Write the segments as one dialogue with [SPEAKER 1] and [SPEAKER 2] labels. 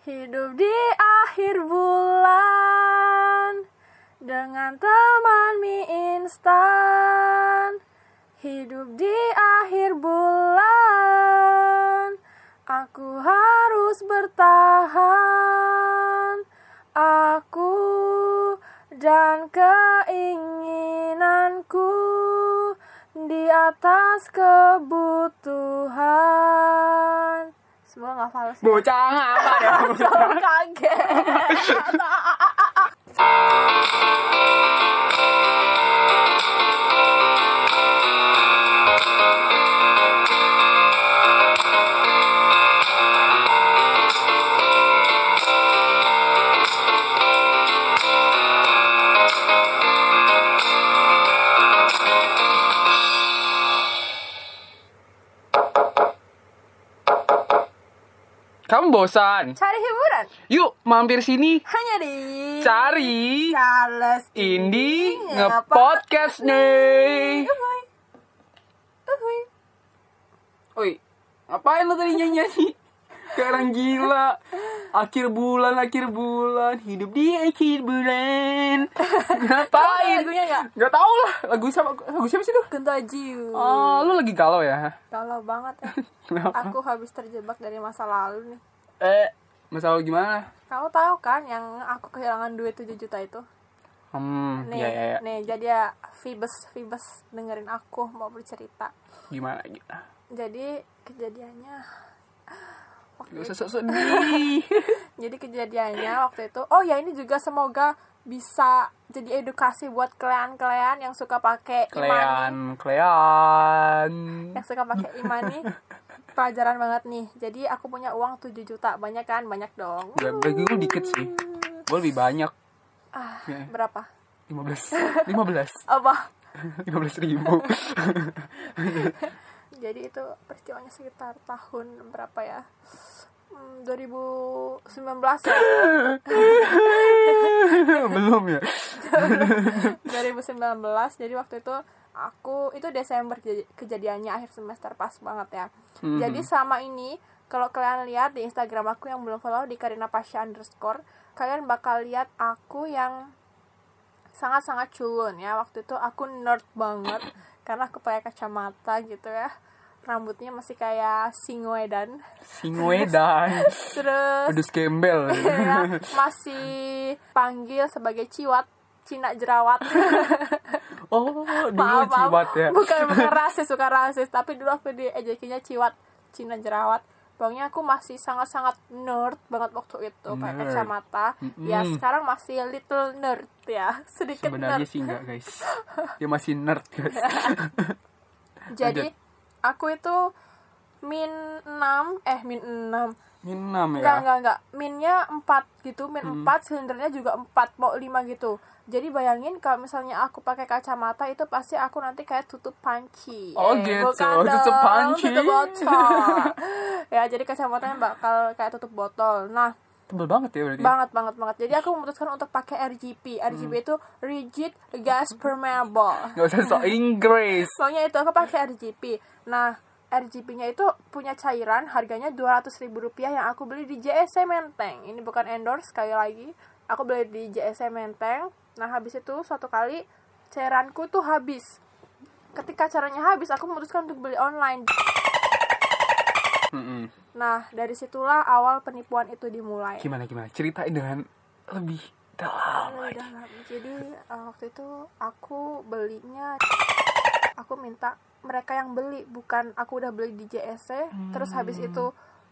[SPEAKER 1] Hidup di akhir bulan dengan teman mie instan. Hidup di akhir bulan, aku harus bertahan. Aku dan keinginanku di atas kebutuhan. Semua nggak fals. ya?
[SPEAKER 2] Bocah apa ya?
[SPEAKER 1] Jauh kaget.
[SPEAKER 2] Kamu bosan?
[SPEAKER 1] Cari hiburan
[SPEAKER 2] Yuk mampir sini
[SPEAKER 1] hanya di
[SPEAKER 2] cari
[SPEAKER 1] Charles
[SPEAKER 2] Indi ngepodcast nih.
[SPEAKER 1] Uhuy. Uhuy.
[SPEAKER 2] Oi, ngapain lo tadi nyanyi-nyanyi? Kayak orang gila. Akhir bulan, akhir bulan, hidup di akhir bulan.
[SPEAKER 1] Tahu
[SPEAKER 2] Ngapain?
[SPEAKER 1] lagunya nggak?
[SPEAKER 2] Gak tau lah. Lagu siapa? Lagu siapa sih tuh?
[SPEAKER 1] Kunto Ajiu.
[SPEAKER 2] Oh, lo lagi galau ya?
[SPEAKER 1] Galau banget ya.
[SPEAKER 2] Kenapa?
[SPEAKER 1] Aku habis terjebak dari masa lalu nih.
[SPEAKER 2] Eh, masalah gimana?
[SPEAKER 1] Kamu tahu kan yang aku kehilangan duit 7 juta itu?
[SPEAKER 2] Hmm,
[SPEAKER 1] Nih,
[SPEAKER 2] ya, ya, ya.
[SPEAKER 1] nih jadi ya Fibes, Fibes dengerin aku mau bercerita.
[SPEAKER 2] Gimana? gimana?
[SPEAKER 1] Jadi kejadiannya waktu
[SPEAKER 2] Gak usah sok sedih.
[SPEAKER 1] Jadi kejadiannya waktu itu, oh ya ini juga semoga bisa jadi edukasi buat kalian-kalian yang suka pakai imani,
[SPEAKER 2] Klean, klean.
[SPEAKER 1] yang suka pakai imani, pelajaran banget nih. Jadi aku punya uang 7 juta, banyak kan? Banyak dong.
[SPEAKER 2] Gak bagi gue dikit sih. Gue lebih banyak.
[SPEAKER 1] Ah,
[SPEAKER 2] Ya.
[SPEAKER 1] berapa?
[SPEAKER 2] 15. 15.
[SPEAKER 1] Apa?
[SPEAKER 2] 15 ribu.
[SPEAKER 1] Jadi itu peristiwanya sekitar tahun berapa ya? Hmm, 2019 ya?
[SPEAKER 2] Belum ya?
[SPEAKER 1] 2019 jadi waktu itu aku itu Desember kej- kejadiannya akhir semester pas banget ya
[SPEAKER 2] Hmm, Mhm.
[SPEAKER 1] jadi sama ini kalau kalian lihat di Instagram aku yang belum follow di Karina Pasha underscore kalian bakal lihat aku yang sangat-sangat culun ya waktu itu aku nerd banget karena aku pakai kacamata gitu ya rambutnya masih kayak singoedan
[SPEAKER 2] Singoedan.
[SPEAKER 1] terus
[SPEAKER 2] Pedus gembel.
[SPEAKER 1] ya, masih panggil sebagai ciwat Cina jerawat
[SPEAKER 2] Oh, dulu
[SPEAKER 1] Maaf, maaf.
[SPEAKER 2] cibat ya.
[SPEAKER 1] Bukan bukan rasis, bukan rasis, tapi dulu aku di ejekinya ciwat, Cina jerawat. Pokoknya aku masih sangat-sangat nerd banget waktu itu, pakai
[SPEAKER 2] Nerd.
[SPEAKER 1] kacamata. Ya,
[SPEAKER 2] Mm-mm.
[SPEAKER 1] sekarang masih little nerd ya, sedikit nerd.
[SPEAKER 2] Sebenarnya sih enggak, guys. Dia masih nerd, guys.
[SPEAKER 1] Jadi aku itu min 6 eh min 6.
[SPEAKER 2] Ini enam
[SPEAKER 1] Enggak,
[SPEAKER 2] ya.
[SPEAKER 1] enggak, enggak. Minnya 4 gitu, min
[SPEAKER 2] Hmm.
[SPEAKER 1] 4, silindernya juga 4, mau 5 gitu. Jadi bayangin kalau misalnya aku pakai kacamata itu pasti aku nanti kayak tutup panci. Eh,
[SPEAKER 2] Oh, gitu.
[SPEAKER 1] bukan dong,
[SPEAKER 2] Tutup panci.
[SPEAKER 1] Tutup botol. ya, jadi kacamatanya bakal kayak tutup botol. Nah,
[SPEAKER 2] Tebel banget ya berarti.
[SPEAKER 1] banget banget banget. Jadi aku memutuskan untuk pakai RGP. RGP
[SPEAKER 2] Hmm.
[SPEAKER 1] itu rigid gas permeable.
[SPEAKER 2] Gak usah sok Inggris.
[SPEAKER 1] Soalnya itu aku pakai RGP. Nah, RGP-nya itu punya cairan harganya 200.000 rupiah yang aku beli di JSC Menteng. Ini bukan endorse sekali lagi. Aku beli di JSC Menteng. Nah, habis itu suatu kali cairanku tuh habis. Ketika caranya habis, aku memutuskan untuk beli online.
[SPEAKER 2] Mm-mm.
[SPEAKER 1] Nah, dari situlah awal penipuan itu dimulai.
[SPEAKER 2] Gimana gimana? Ceritain dengan lebih dalam.
[SPEAKER 1] Iya, Udah lah. Jadi uh, waktu itu aku belinya aku minta mereka yang beli bukan aku udah beli di JSC terus habis
[SPEAKER 2] Hmm.
[SPEAKER 1] itu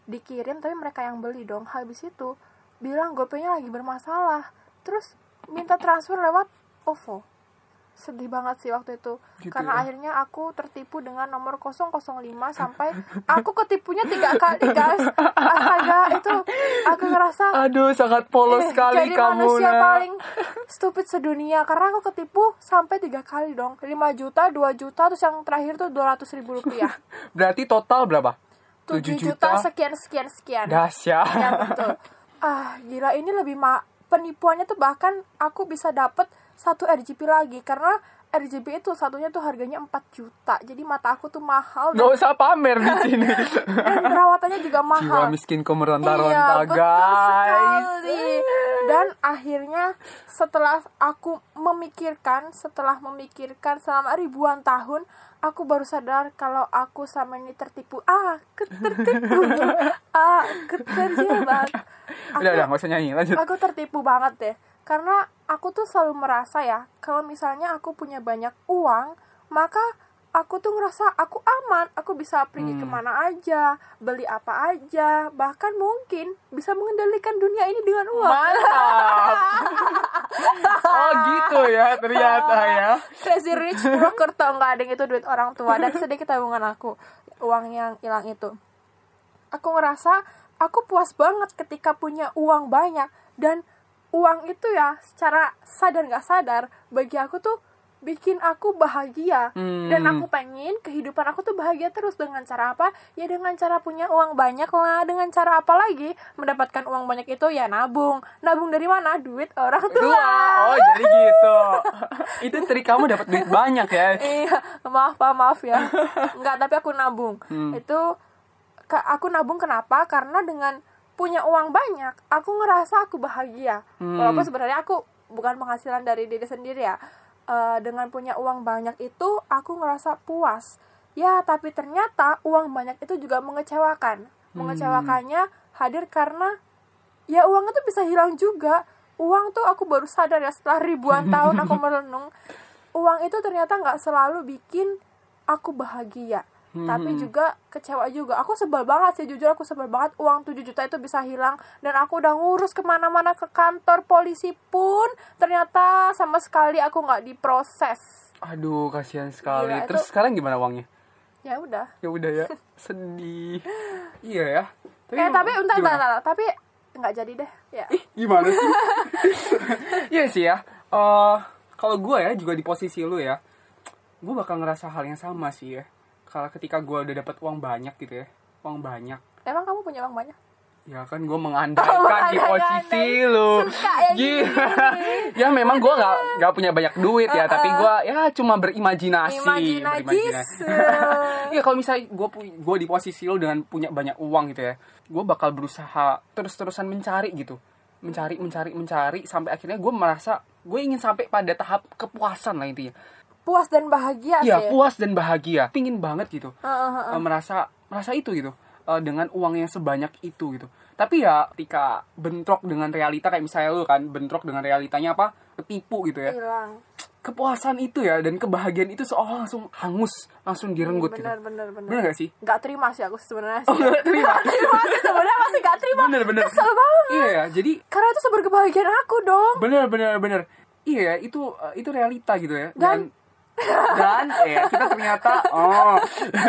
[SPEAKER 1] dikirim tapi mereka yang beli dong habis itu bilang gopenya lagi bermasalah terus minta transfer lewat OVO sedih banget sih waktu itu
[SPEAKER 2] Gitu
[SPEAKER 1] karena
[SPEAKER 2] ya.
[SPEAKER 1] akhirnya aku tertipu dengan nomor 005 sampai aku ketipunya tiga kali guys astaga itu aku ngerasa
[SPEAKER 2] Aduh, sangat polos
[SPEAKER 1] Eh,
[SPEAKER 2] sekali
[SPEAKER 1] jadi
[SPEAKER 2] kamu.
[SPEAKER 1] manusia
[SPEAKER 2] Nak.
[SPEAKER 1] paling stupid sedunia karena aku ketipu sampai tiga kali dong 5 juta 2 juta terus yang terakhir tuh 200 ribu rupiah
[SPEAKER 2] Berarti total berapa?
[SPEAKER 1] 7
[SPEAKER 2] Tujuh
[SPEAKER 1] juta sekian sekian sekian ya
[SPEAKER 2] Dahsyat.
[SPEAKER 1] betul ah gila ini lebih ma- penipuannya tuh bahkan aku bisa dapet satu RGP lagi karena RGB itu satunya tuh harganya 4 juta jadi mata aku tuh mahal
[SPEAKER 2] Gak usah pamer di sini.
[SPEAKER 1] dan perawatannya juga
[SPEAKER 2] Jiwa
[SPEAKER 1] mahal
[SPEAKER 2] miskin kau meronta-ronta,
[SPEAKER 1] Iya, betul
[SPEAKER 2] guys.
[SPEAKER 1] sekali. Dan akhirnya setelah aku memikirkan, setelah memikirkan selama ribuan tahun, aku baru sadar kalau aku sama ini tertipu. Ah, ketertipu. ah, keterjebak. Aku-
[SPEAKER 2] Udah, udah, gak usah nyanyi. Lanjut.
[SPEAKER 1] aku tertipu banget deh karena aku tuh selalu merasa ya kalau misalnya aku punya banyak uang maka aku tuh ngerasa aku aman aku bisa pergi kemana aja beli apa aja bahkan mungkin bisa mengendalikan dunia ini dengan uang
[SPEAKER 2] Mantap. Oh gitu ya ternyata ya.
[SPEAKER 1] crazy rich broker tau nggak ada yang itu duit orang tua dan sedikit tabungan aku uang yang hilang itu aku ngerasa aku puas banget ketika punya uang banyak dan uang itu ya secara sadar nggak sadar bagi aku tuh bikin aku bahagia
[SPEAKER 2] Hmm.
[SPEAKER 1] dan aku pengen kehidupan aku tuh bahagia terus dengan cara apa ya dengan cara punya uang banyak lah dengan cara apa lagi mendapatkan uang banyak itu ya nabung nabung dari mana duit orang tua,
[SPEAKER 2] Tua. Oh jadi gitu. Itu trik kamu dapat duit banyak ya.
[SPEAKER 1] iya maaf pak maaf ya nggak tapi aku nabung itu ke- aku nabung kenapa karena dengan punya uang banyak aku ngerasa aku bahagia walaupun sebenarnya aku bukan penghasilan dari diri sendiri ya Eh, dengan punya uang banyak itu aku ngerasa puas ya tapi ternyata uang banyak itu juga mengecewakan mengecewakannya hadir karena ya uang itu bisa hilang juga uang tuh aku baru sadar ya setelah ribuan tahun aku merenung uang itu ternyata nggak selalu bikin aku bahagia
[SPEAKER 2] Hmm.
[SPEAKER 1] tapi juga kecewa juga aku sebel banget sih jujur aku sebel banget uang 7 juta itu bisa hilang dan aku udah ngurus kemana-mana ke kantor polisi pun ternyata sama sekali aku nggak diproses
[SPEAKER 2] Aduh kasihan sekali.
[SPEAKER 1] Gila, itu-
[SPEAKER 2] Terus sekarang gimana uangnya?
[SPEAKER 1] ya udah
[SPEAKER 2] Ya udah ya. Sedih. Iya ya.
[SPEAKER 1] eh tapi bentar, bentar,
[SPEAKER 2] gimana?
[SPEAKER 1] bentar. tapi nggak jadi deh ya
[SPEAKER 2] Gimana sih? Iya sih ya. Eh, kalau gue ya juga di posisi lu ya, gue bakal ngerasa hal yang sama sih ya. Kalau ketika gue udah dapat uang banyak gitu ya, uang banyak.
[SPEAKER 1] emang kamu punya uang banyak
[SPEAKER 2] Ya kan gue mengandalkan di posisi
[SPEAKER 1] mengandai.
[SPEAKER 2] lu.
[SPEAKER 1] Suka yang
[SPEAKER 2] Gih. ya memang gue nggak nggak punya banyak duit ya, tapi gue ya cuma berimajinasi.
[SPEAKER 1] imajinajis
[SPEAKER 2] berimajinasi. Iya kalau misalnya gue gue di posisi lo dengan punya banyak uang gitu ya, gue bakal berusaha terus-terusan mencari gitu, mencari, mencari, mencari sampai akhirnya gue merasa gue ingin sampai pada tahap kepuasan lah intinya.
[SPEAKER 1] puas dan bahagia
[SPEAKER 2] Iya
[SPEAKER 1] sih
[SPEAKER 2] puas dan bahagia, pingin banget gitu,
[SPEAKER 1] Heeh, heeh.
[SPEAKER 2] Eh, merasa merasa itu gitu eh, dengan uang yang sebanyak itu gitu. Tapi ya ketika bentrok dengan realita kayak misalnya lo kan bentrok dengan realitanya apa ketipu gitu ya,
[SPEAKER 1] hilang
[SPEAKER 2] kepuasan itu ya dan kebahagiaan itu seolah langsung hangus, langsung direnggut gitu.
[SPEAKER 1] bener bener bener
[SPEAKER 2] Bener gak sih? Oh,
[SPEAKER 1] nggak terima sih aku sebenarnya sih.
[SPEAKER 2] nggak terima.
[SPEAKER 1] Nggak terima sih sebenarnya masih nggak terima
[SPEAKER 2] Bener, bener.
[SPEAKER 1] kesel banget
[SPEAKER 2] Iya ya, jadi
[SPEAKER 1] karena itu sumber kebahagiaan aku dong
[SPEAKER 2] bener bener bener. Iya ya, itu eh, itu realita gitu ya.
[SPEAKER 1] Dan-
[SPEAKER 2] dan ya kita ternyata oh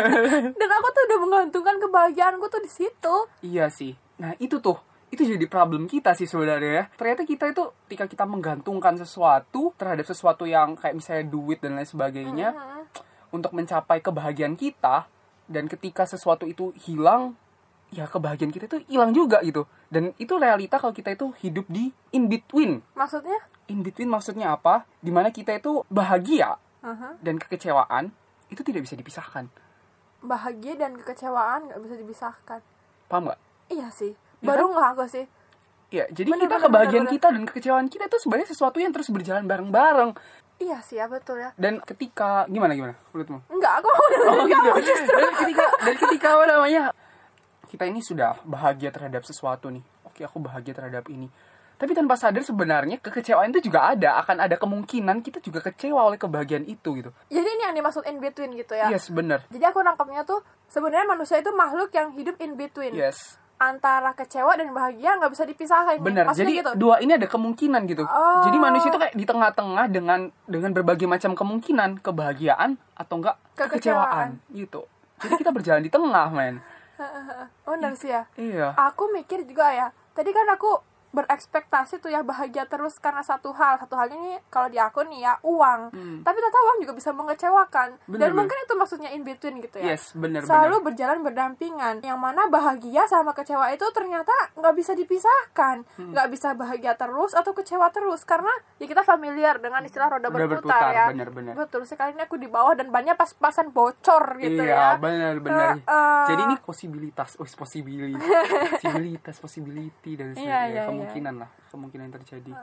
[SPEAKER 1] dan aku tuh udah menggantungkan kebahagiaanku tuh di situ
[SPEAKER 2] iya sih. Nah itu tuh itu jadi problem kita sih sebenarnya ya. Ternyata kita itu ketika kita menggantungkan sesuatu terhadap sesuatu yang kayak misalnya duit dan lain sebagainya untuk mencapai kebahagiaan kita dan ketika sesuatu itu hilang ya kebahagiaan kita itu hilang juga gitu dan itu realita kalau kita itu hidup di in between
[SPEAKER 1] maksudnya
[SPEAKER 2] in between maksudnya apa? Dimana kita itu bahagia
[SPEAKER 1] Aha.
[SPEAKER 2] dan kekecewaan itu tidak bisa dipisahkan.
[SPEAKER 1] bahagia dan kekecewaan nggak bisa dipisahkan
[SPEAKER 2] Paham nggak?
[SPEAKER 1] iya sih baru
[SPEAKER 2] kan?
[SPEAKER 1] nggak aku sih
[SPEAKER 2] Ya, jadi
[SPEAKER 1] Bener,
[SPEAKER 2] kita
[SPEAKER 1] bener,
[SPEAKER 2] kebahagiaan
[SPEAKER 1] bener,
[SPEAKER 2] kita dan kekecewaan kita itu sebenarnya sesuatu yang terus berjalan bareng-bareng.
[SPEAKER 1] iya sih ya betul ya
[SPEAKER 2] Dan ketika gimana gimana menurutmu?
[SPEAKER 1] nggak aku mau dengerin kamu justru
[SPEAKER 2] Dan Oh, gitu. ketika dan ketika apa namanya? Kita ini sudah bahagia terhadap sesuatu nih. Oke, aku bahagia terhadap ini. Tapi tanpa sadar sebenarnya kekecewaan itu juga ada, akan ada kemungkinan kita juga kecewa oleh kebahagiaan itu gitu.
[SPEAKER 1] jadi ini yang dimaksud in between gitu ya
[SPEAKER 2] Yes, bener.
[SPEAKER 1] jadi aku nangkepnya tuh sebenarnya manusia itu makhluk yang hidup in between
[SPEAKER 2] Yes.
[SPEAKER 1] antara kecewa dan bahagia nggak bisa dipisahin nih.
[SPEAKER 2] Benar.
[SPEAKER 1] Maksudnya
[SPEAKER 2] Jadi
[SPEAKER 1] gitu.
[SPEAKER 2] dua ini ada kemungkinan gitu.
[SPEAKER 1] Oh.
[SPEAKER 2] Jadi manusia itu kayak di tengah-tengah dengan dengan berbagai macam kemungkinan kebahagiaan atau enggak
[SPEAKER 1] Kekecewaan.
[SPEAKER 2] kekecewaan, gitu. Jadi kita berjalan di tengah, men.
[SPEAKER 1] bener sih ya
[SPEAKER 2] Iya.
[SPEAKER 1] aku mikir juga ya tadi kan aku berekspektasi tuh ya bahagia terus karena satu hal satu hal ini kalau di aku nih ya uang
[SPEAKER 2] Hmm.
[SPEAKER 1] tapi ternyata uang juga bisa mengecewakan
[SPEAKER 2] Bener,
[SPEAKER 1] dan
[SPEAKER 2] bener.
[SPEAKER 1] mungkin itu maksudnya in between gitu ya
[SPEAKER 2] Yes, bener
[SPEAKER 1] selalu
[SPEAKER 2] bener.
[SPEAKER 1] berjalan berdampingan yang mana bahagia sama kecewa itu ternyata nggak bisa dipisahkan
[SPEAKER 2] Hmm.
[SPEAKER 1] nggak bisa bahagia terus atau kecewa terus karena ya kita familiar dengan istilah roda,
[SPEAKER 2] Roda
[SPEAKER 1] berputar,
[SPEAKER 2] berputar,
[SPEAKER 1] ya
[SPEAKER 2] bener, bener.
[SPEAKER 1] betul sekali ini aku di bawah dan bannya pas-pasan bocor gitu ya eh.
[SPEAKER 2] iya, bener bener.
[SPEAKER 1] Heeh.
[SPEAKER 2] Jadi ini posibilitas, oh possibility, possibilitas, possibility dan
[SPEAKER 1] Iya,
[SPEAKER 2] sebagainya
[SPEAKER 1] iya, Eh,
[SPEAKER 2] kemungkinan lah, kemungkinan terjadi.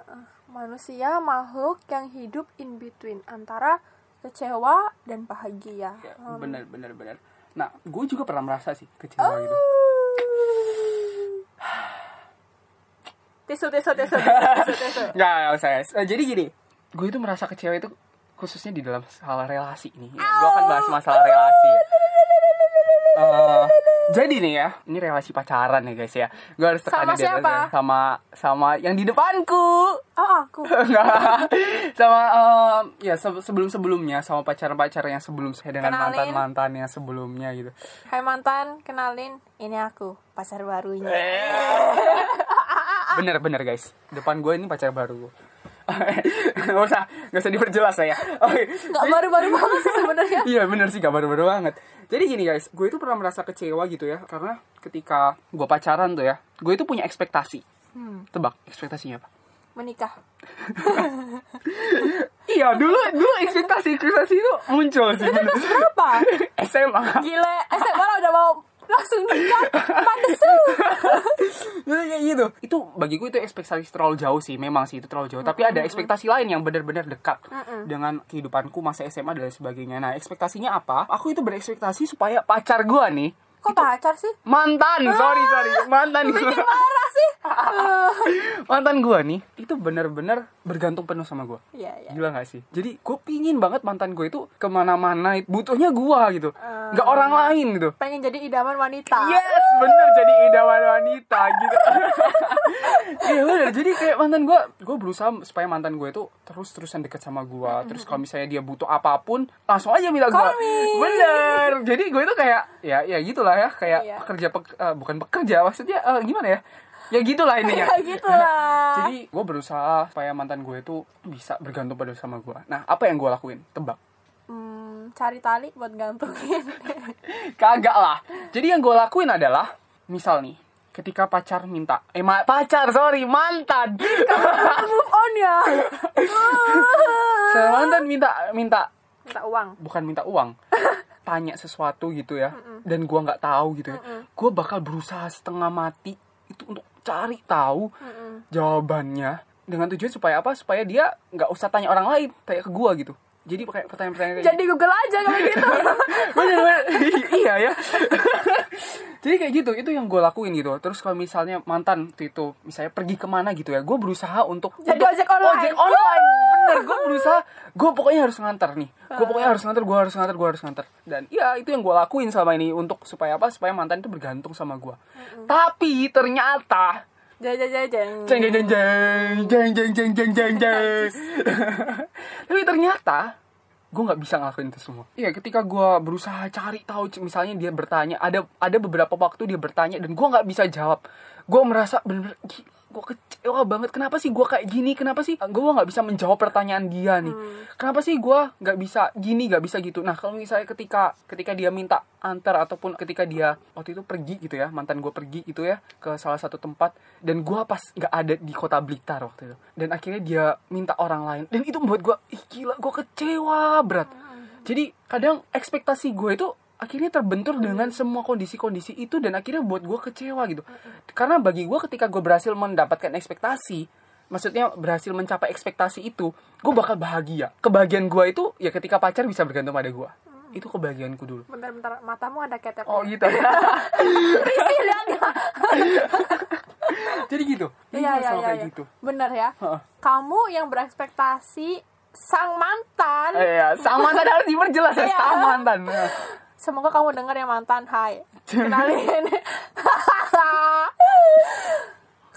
[SPEAKER 1] manusia makhluk yang hidup in between antara kecewa dan bahagia
[SPEAKER 2] Ya, bener bener bener. Nah, gue juga pernah merasa sih
[SPEAKER 1] Oh.
[SPEAKER 2] kecewa gitu.
[SPEAKER 1] tisu tisu tisu tisu tisu
[SPEAKER 2] Nggak, nggak usah. guys. Eh, jadi gini, gue itu merasa kecewa itu khususnya di dalam masalah relasi ini. Ya, gue akan bahas masalah relasi. Eh, jadi nih ya, ini relasi pacaran ya guys ya. Gue harus
[SPEAKER 1] Sama
[SPEAKER 2] tekanin di atas
[SPEAKER 1] siapa?
[SPEAKER 2] ya. sama sama yang di depanku.
[SPEAKER 1] oh aku
[SPEAKER 2] Nggak. sama em, ya sebelum sebelumnya sama pacaran-pacaran yang sebelum saya dengan
[SPEAKER 1] Kenalin.
[SPEAKER 2] mantan mantannya sebelumnya gitu.
[SPEAKER 1] Hai mantan, kenalin, ini aku pacar barunya.
[SPEAKER 2] bener bener guys depan gue ini pacar baru nggak usah nggak usah diperjelas lah ya oke
[SPEAKER 1] Gak baru-baru banget sih sebenarnya.
[SPEAKER 2] iya bener sih gak baru-baru banget jadi gini guys gue itu pernah merasa kecewa gitu ya karena ketika gue pacaran tuh ya gue itu punya ekspektasi tebak ekspektasinya apa
[SPEAKER 1] Menikah.
[SPEAKER 2] iya dulu dulu ekspektasi ekspektasi itu muncul sih bener.
[SPEAKER 1] Berapa?
[SPEAKER 2] SMA
[SPEAKER 1] Gile, SMA lah udah mau langsung nikah. Pantesu.
[SPEAKER 2] Jadi kayak gitu itu bagi gue itu ekspektasi terlalu jauh sih memang sih itu terlalu jauh tapi ada ekspektasi lain yang benar-benar dekat dengan kehidupanku masa SMA dan lain sebagainya nah ekspektasinya apa aku itu berekspektasi supaya pacar gue nih
[SPEAKER 1] Kok pacar sih?
[SPEAKER 2] mantan sorry sorry mantan gua.
[SPEAKER 1] Bikin marah sih. Eh,
[SPEAKER 2] mantan gue nih itu benar-benar bergantung penuh sama gue
[SPEAKER 1] Iya, iya.
[SPEAKER 2] Gila gak sih? Jadi gue pingin banget mantan gue itu kemana-mana Butuhnya gue gitu
[SPEAKER 1] Eh.
[SPEAKER 2] Gak orang lain gitu
[SPEAKER 1] Pengen jadi idaman wanita.
[SPEAKER 2] Yes, bener jadi idaman wanita gitu. Iya bener, jadi kayak mantan gue, gue berusaha supaya mantan gue itu terus terusan deket sama gue. Terus kalau misalnya dia butuh apapun, langsung aja minta gue.
[SPEAKER 1] Call me.
[SPEAKER 2] Bener, jadi gue itu kayak ya ya gitulah ya, kayak
[SPEAKER 1] Iya.
[SPEAKER 2] pekerja pek- eh, bukan pekerja, maksudnya eh, gimana ya? Ya gitulah
[SPEAKER 1] Ya,
[SPEAKER 2] intinya.
[SPEAKER 1] gitu lah.
[SPEAKER 2] Jadi gue berusaha supaya mantan gue itu bisa bergantung pada sama gue. Nah, apa yang gue lakuin? Tebak.
[SPEAKER 1] Hmm, cari tali buat gantungin.
[SPEAKER 2] Kagak lah. Jadi yang gue lakuin adalah, misal nih, ketika pacar minta, eh ma- pacar sorry mantan,
[SPEAKER 1] Move on ya.
[SPEAKER 2] Saya mantan minta minta
[SPEAKER 1] Minta uang.
[SPEAKER 2] bukan minta uang, tanya sesuatu gitu ya, dan gue nggak tahu gitu ya, gue bakal berusaha setengah mati itu untuk cari tahu jawabannya dengan tujuan supaya apa? Supaya dia nggak usah tanya orang lain, tanya ke gue gitu. Jadi pakai pertanyaan-pertanyaan kayak
[SPEAKER 1] Jadi Google aja kalau gitu.
[SPEAKER 2] bener bener iya ya jadi kayak gitu itu yang gue lakuin gitu terus kalau misalnya mantan waktu itu misalnya pergi kemana gitu ya gue berusaha untuk
[SPEAKER 1] Jadi
[SPEAKER 2] untuk-
[SPEAKER 1] ojek online.
[SPEAKER 2] ojek online bener gue berusaha gue pokoknya harus nganter nih gue
[SPEAKER 1] Ah.
[SPEAKER 2] pokoknya harus nganter gue harus nganter gue harus nganter dan iya itu yang gue lakuin selama ini untuk supaya apa supaya mantan itu bergantung sama gue tapi ternyata
[SPEAKER 1] Jajan jajan.
[SPEAKER 2] jeng jeng jeng jeng jeng jeng jeng jeng jeng tapi ternyata gue nggak bisa ngelakuin itu semua iya ketika gue berusaha cari tahu c- misalnya dia bertanya ada ada beberapa waktu dia bertanya dan gue nggak bisa jawab gue merasa bener-bener gue kecewa banget kenapa sih gue kayak gini kenapa sih gue nggak bisa menjawab pertanyaan dia nih kenapa sih gue nggak bisa gini nggak bisa gitu nah kalau misalnya ketika ketika dia minta antar ataupun ketika dia waktu itu pergi gitu ya mantan gue pergi gitu ya ke salah satu tempat dan gue pas nggak ada di kota Blitar waktu itu dan akhirnya dia minta orang lain dan itu membuat gue ih gila gue kecewa berat jadi kadang ekspektasi gue itu akhirnya terbentur dengan semua kondisi-kondisi itu dan akhirnya buat gue kecewa gitu karena bagi gue ketika gue berhasil mendapatkan ekspektasi maksudnya berhasil mencapai ekspektasi itu gue bakal bahagia kebahagiaan gue itu ya ketika pacar bisa bergantung pada gue itu kebahagiaanku dulu
[SPEAKER 1] Bentar-bentar, matamu ada ketep.
[SPEAKER 2] Hmm. oh gitu
[SPEAKER 1] Risih liatnya.
[SPEAKER 2] jadi gitu jadi
[SPEAKER 1] Iya,
[SPEAKER 2] gua
[SPEAKER 1] iya,
[SPEAKER 2] selalu
[SPEAKER 1] iya.
[SPEAKER 2] kayak
[SPEAKER 1] iya.
[SPEAKER 2] gitu
[SPEAKER 1] Bener ya.
[SPEAKER 2] Heeh.
[SPEAKER 1] Kamu yang berekspektasi sang mantan.
[SPEAKER 2] Eh, ya, sama mantan harus diperjelas ya,
[SPEAKER 1] Iya.
[SPEAKER 2] sama mantan. Nah,
[SPEAKER 1] Semoga kamu dengar ya mantan. Hai. Kenalin.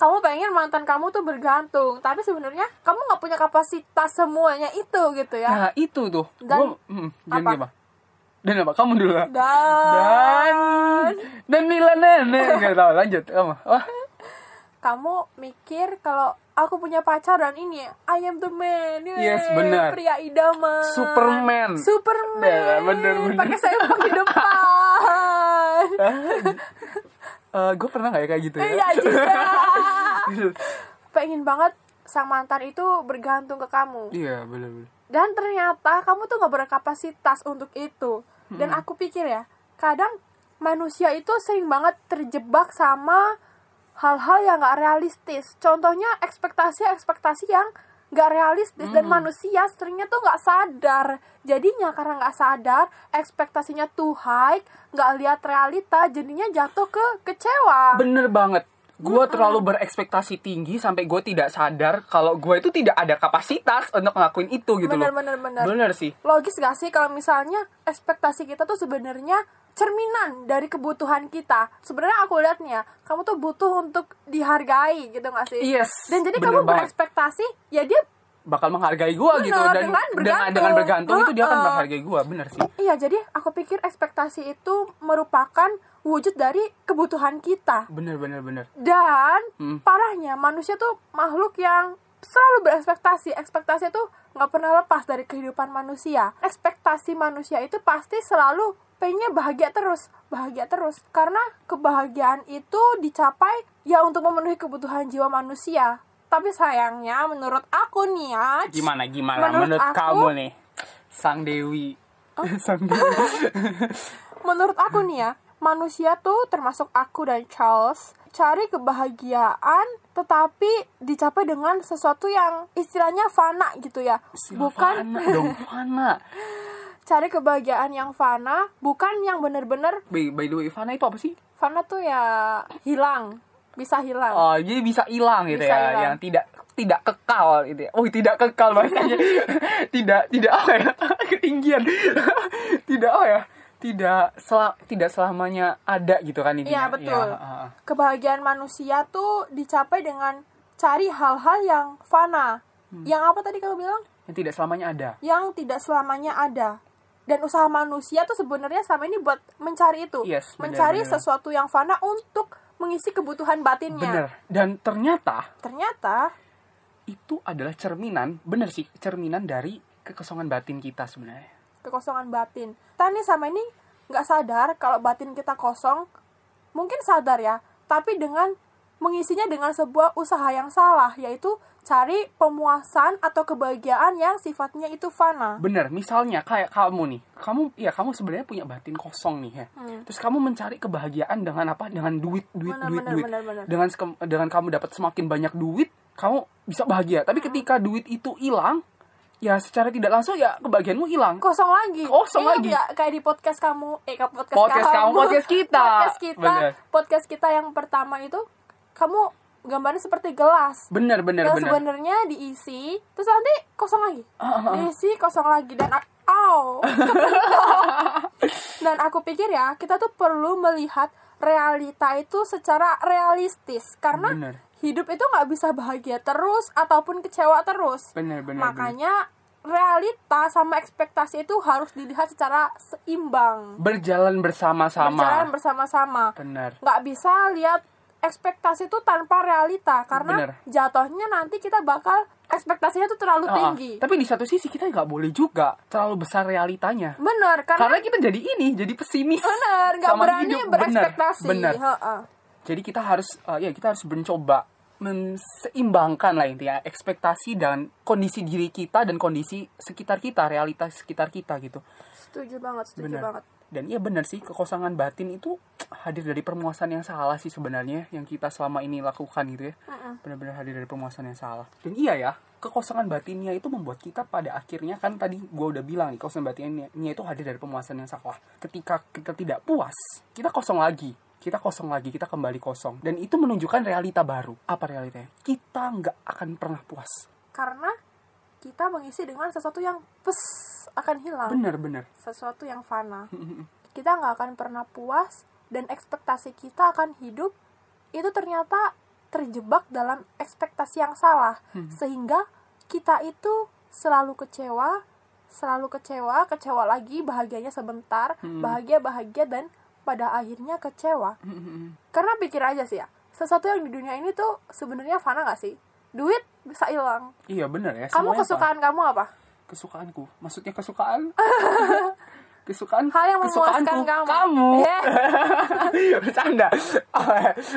[SPEAKER 1] kamu pengen mantan kamu tuh bergantung, tapi sebenarnya kamu nggak punya kapasitas semuanya itu gitu ya.
[SPEAKER 2] Nah, itu tuh.
[SPEAKER 1] Dan-
[SPEAKER 2] gua, mm, dan
[SPEAKER 1] apa?
[SPEAKER 2] apa? Dan apa? Kamu dulu lah.
[SPEAKER 1] Dan
[SPEAKER 2] Oh. Dan dan Milana, nggak tahu lanjut kamu. Wah,
[SPEAKER 1] kamu mikir kalau aku punya pacar dan ini I am the man. Yeay,
[SPEAKER 2] Yes, benar.
[SPEAKER 1] Pria idaman.
[SPEAKER 2] Superman.
[SPEAKER 1] Superman.
[SPEAKER 2] Nah, benar, benar.
[SPEAKER 1] Pakai sempak di depan.
[SPEAKER 2] gue pernah nggak ya kayak gitu ya?
[SPEAKER 1] Iya, Jida. Pengen banget sang mantan itu bergantung ke kamu.
[SPEAKER 2] Iya, bener-bener.
[SPEAKER 1] dan ternyata kamu tuh nggak berkapasitas untuk itu dan aku pikir ya kadang manusia itu sering banget terjebak sama hal-hal yang nggak realistis contohnya ekspektasi ekspektasi yang nggak realistis dan manusia seringnya tuh nggak sadar jadinya karena nggak sadar ekspektasinya too high nggak lihat realita jadinya jatuh ke kecewa
[SPEAKER 2] Bener banget. Gue terlalu berekspektasi tinggi sampai gue tidak sadar kalau gue itu tidak ada kapasitas untuk ngelakuin itu gitu
[SPEAKER 1] Bener,
[SPEAKER 2] loh.
[SPEAKER 1] bener, bener.
[SPEAKER 2] Bener sih.
[SPEAKER 1] logis gak sih kalau misalnya ekspektasi kita tuh sebenarnya cerminan dari kebutuhan kita sebenarnya aku lihatnya kamu tuh butuh untuk dihargai gitu gak sih
[SPEAKER 2] Yes,
[SPEAKER 1] dan jadi
[SPEAKER 2] Iya.
[SPEAKER 1] kamu
[SPEAKER 2] bener banget.
[SPEAKER 1] berekspektasi ya dia
[SPEAKER 2] Bakal menghargai gue gitu
[SPEAKER 1] Bener,
[SPEAKER 2] dan
[SPEAKER 1] dengan
[SPEAKER 2] dengan,
[SPEAKER 1] bergantung.
[SPEAKER 2] dengan bergantung itu dia akan
[SPEAKER 1] Heeh.
[SPEAKER 2] menghargai gue. Bener sih.
[SPEAKER 1] iya jadi aku pikir ekspektasi itu merupakan wujud dari kebutuhan kita
[SPEAKER 2] Bener bener bener.
[SPEAKER 1] dan
[SPEAKER 2] Hmm.
[SPEAKER 1] parahnya manusia tuh makhluk yang selalu berekspektasi ekspektasi tuh nggak pernah lepas dari kehidupan manusia ekspektasi manusia itu pasti selalu pengennya bahagia terus bahagia terus karena kebahagiaan itu dicapai ya untuk memenuhi kebutuhan jiwa manusia tapi sayangnya menurut aku nih ya
[SPEAKER 2] Gimana gimana
[SPEAKER 1] Menurut
[SPEAKER 2] menurut,
[SPEAKER 1] aku- Oh.
[SPEAKER 2] kamu nih, Sang Dewi. Sang Dewi.
[SPEAKER 1] menurut aku nih ya manusia tuh termasuk aku dan Charles cari kebahagiaan tetapi dicapai dengan sesuatu yang istilahnya fana gitu ya
[SPEAKER 2] Istilah
[SPEAKER 1] bukan
[SPEAKER 2] fana dong fana.
[SPEAKER 1] cari kebahagiaan yang fana bukan yang bener-bener
[SPEAKER 2] By, by the way, fana itu apa sih?
[SPEAKER 1] fana tuh ya hilang bisa hilang
[SPEAKER 2] Oh, jadi bisa hilang gitu
[SPEAKER 1] Bisa
[SPEAKER 2] ya,
[SPEAKER 1] hilang.
[SPEAKER 2] yang tidak tidak kekal gitu ya. Oh, tidak kekal bahasanya. tidak tidak apa ya? Ketinggian. tidak apa ya? Tidak sel tidak selamanya ada gitu kan intinya.
[SPEAKER 1] Iya, betul.
[SPEAKER 2] Ya, ah, ah.
[SPEAKER 1] kebahagiaan manusia tuh dicapai dengan cari hal-hal yang fana
[SPEAKER 2] Hmm.
[SPEAKER 1] yang apa tadi kamu bilang
[SPEAKER 2] Yang tidak selamanya ada.
[SPEAKER 1] yang tidak selamanya ada dan usaha manusia tuh sebenarnya sama ini buat mencari itu
[SPEAKER 2] Yes, benar,
[SPEAKER 1] mencari
[SPEAKER 2] benar.
[SPEAKER 1] sesuatu yang fana untuk mengisi kebutuhan
[SPEAKER 2] Bener.
[SPEAKER 1] batinnya
[SPEAKER 2] Dan ternyata
[SPEAKER 1] ternyata
[SPEAKER 2] itu adalah cerminan, bener sih, cerminan dari kekosongan batin kita sebenarnya.
[SPEAKER 1] kekosongan batin kita nih sama ini nggak sadar kalau batin kita kosong mungkin sadar ya tapi dengan mengisinya dengan sebuah usaha yang salah yaitu cari pemuasan atau kebahagiaan yang sifatnya itu fana
[SPEAKER 2] Bener, misalnya kayak kamu nih, kamu ya kamu sebenarnya punya batin kosong nih ya. Terus kamu mencari kebahagiaan dengan apa? Dengan duit, duit,
[SPEAKER 1] Hmm. Bener, bener,
[SPEAKER 2] duit, duit.
[SPEAKER 1] bener, bener.
[SPEAKER 2] Dengan sekem- dengan kamu dapat semakin banyak duit, kamu bisa bahagia.
[SPEAKER 1] Hmm.
[SPEAKER 2] Tapi ketika duit itu hilang, ya secara tidak langsung ya kebahagiaanmu hilang.
[SPEAKER 1] kosong lagi
[SPEAKER 2] Kosong
[SPEAKER 1] Ingat
[SPEAKER 2] lagi.
[SPEAKER 1] nggak kayak di podcast kamu eh ke podcast,
[SPEAKER 2] Podcast kamu, podcast kita.
[SPEAKER 1] podcast kita
[SPEAKER 2] Bener.
[SPEAKER 1] podcast kita yang pertama itu kamu gambarnya seperti gelas
[SPEAKER 2] Bener, bener,
[SPEAKER 1] yang
[SPEAKER 2] bener.
[SPEAKER 1] Ya, sebenarnya diisi terus nanti kosong lagi
[SPEAKER 2] Ah, ah.
[SPEAKER 1] diisi kosong lagi dan a- au dan aku pikir ya kita tuh perlu melihat realita itu secara realistis karena
[SPEAKER 2] Bener.
[SPEAKER 1] hidup itu nggak bisa bahagia terus ataupun kecewa terus
[SPEAKER 2] Bener, bener, bener.
[SPEAKER 1] Makanya realita sama ekspektasi itu harus dilihat secara seimbang.
[SPEAKER 2] Berjalan
[SPEAKER 1] Berjalan
[SPEAKER 2] bersama-sama.
[SPEAKER 1] bersama-sama.
[SPEAKER 2] Bener.
[SPEAKER 1] Nggak bisa lihat ekspektasi itu tanpa realita karena
[SPEAKER 2] Bener.
[SPEAKER 1] jatuhnya nanti kita bakal ekspektasinya itu terlalu
[SPEAKER 2] Ah, ah.
[SPEAKER 1] tinggi.
[SPEAKER 2] Tapi di satu sisi kita nggak boleh juga terlalu besar realitanya.
[SPEAKER 1] Bener, karena
[SPEAKER 2] Karena kita jadi ini, jadi pesimis.
[SPEAKER 1] bener nggak
[SPEAKER 2] sama
[SPEAKER 1] berani
[SPEAKER 2] hidup. Bener,
[SPEAKER 1] berekspektasi.
[SPEAKER 2] bener.
[SPEAKER 1] Heeh.
[SPEAKER 2] Jadi kita harus eh, ya kita harus mencoba menseimbangkan lah intinya ekspektasi dan kondisi diri kita dan kondisi sekitar kita, realitas sekitar kita gitu.
[SPEAKER 1] Setuju banget, setuju
[SPEAKER 2] Benar.
[SPEAKER 1] banget.
[SPEAKER 2] Dan iya benar sih kekosongan batin itu hadir dari permuasan yang salah sih sebenarnya yang kita selama ini lakukan gitu ya. Benar-benar hadir dari permuasan yang salah. Dan iya ya, kekosongan batinnya itu membuat kita pada akhirnya kan tadi gua udah bilang nih kekosongan batinnya itu hadir dari pemuasan yang salah. Ketika kita tidak puas, kita kosong lagi kita kosong lagi, kita kembali kosong. Dan itu menunjukkan realita baru. Apa realitanya? Kita nggak akan pernah puas.
[SPEAKER 1] Karena kita mengisi dengan sesuatu yang pes akan hilang.
[SPEAKER 2] Bener-bener.
[SPEAKER 1] sesuatu yang fana. Kita nggak akan pernah puas dan ekspektasi kita akan hidup itu ternyata terjebak dalam ekspektasi yang salah sehingga kita itu selalu kecewa, selalu kecewa, kecewa lagi, bahagianya sebentar, bahagia bahagia dan pada akhirnya kecewa. Karena pikir aja sih ya, sesuatu yang di dunia ini tuh sebenarnya fana gak sih duit bisa hilang
[SPEAKER 2] Iya bener ya.
[SPEAKER 1] kamu
[SPEAKER 2] semuanya apa?
[SPEAKER 1] kesukaan kamu apa
[SPEAKER 2] Kesukaanku. Maksudnya kesukaan. kesukaan.
[SPEAKER 1] Hal yang memuaskan
[SPEAKER 2] kesukaanku.
[SPEAKER 1] kamu.
[SPEAKER 2] Kamu.
[SPEAKER 1] Eh,
[SPEAKER 2] Bercanda.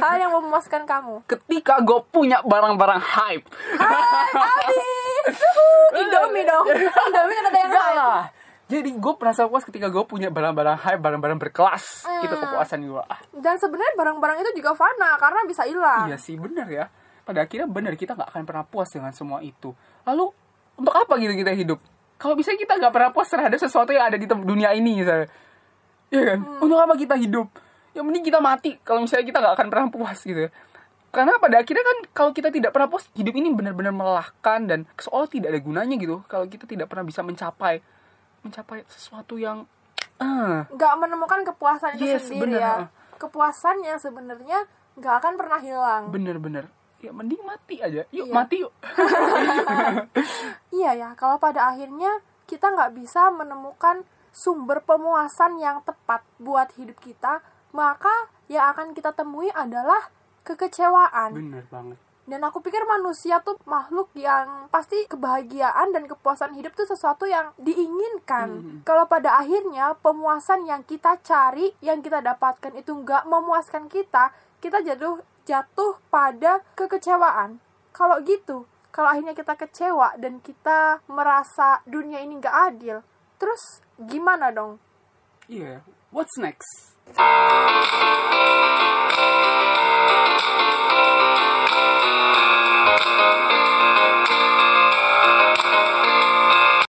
[SPEAKER 1] hal yang memuaskan kamu
[SPEAKER 2] Ketika gue punya barang-barang hype.
[SPEAKER 1] habis Ah, indomie dong indomie kan ada yang
[SPEAKER 2] Enggak
[SPEAKER 1] lain
[SPEAKER 2] lah. Jadi gue merasa puas ketika gue punya barang-barang hype, barang-barang berkelas.
[SPEAKER 1] Hmm.
[SPEAKER 2] Itu kepuasan gue. Ah,
[SPEAKER 1] dan sebenarnya barang-barang itu juga fana karena bisa hilang
[SPEAKER 2] iya sih bener ya. Pada akhirnya bener kita nggak akan pernah puas dengan semua itu. Lalu untuk apa gitu kita hidup? Kalau bisa kita nggak pernah puas terhadap sesuatu yang ada di tem- dunia ini misalnya. Iya kan? Untuk apa kita hidup? Yang mending kita mati kalau misalnya kita nggak akan pernah puas gitu ya. Karena pada akhirnya kan kalau kita tidak pernah puas, hidup ini benar-benar melelahkan dan seolah tidak ada gunanya gitu. Kalau kita tidak pernah bisa mencapai mencapai sesuatu yang ah,
[SPEAKER 1] nggak menemukan kepuasan itu
[SPEAKER 2] Yes,
[SPEAKER 1] sendiri
[SPEAKER 2] bener,
[SPEAKER 1] ya
[SPEAKER 2] heeh.
[SPEAKER 1] kepuasannya sebenarnya nggak akan pernah hilang
[SPEAKER 2] bener-bener ya mending mati aja. Yuk
[SPEAKER 1] Iya.
[SPEAKER 2] mati yuk.
[SPEAKER 1] Iya ya, kalau pada akhirnya kita nggak bisa menemukan sumber pemuasan yang tepat buat hidup kita, maka yang akan kita temui adalah kekecewaan.
[SPEAKER 2] Bener banget.
[SPEAKER 1] Dan aku pikir manusia tuh makhluk yang pasti kebahagiaan dan kepuasan hidup tuh sesuatu yang diinginkan. Kalau pada akhirnya pemuasan yang kita cari, yang kita dapatkan itu nggak memuaskan kita, kita jatuh jatuh pada kekecewaan. Kalau gitu, kalau akhirnya kita kecewa dan kita merasa dunia ini nggak adil, terus gimana dong?
[SPEAKER 2] Iya. What's next?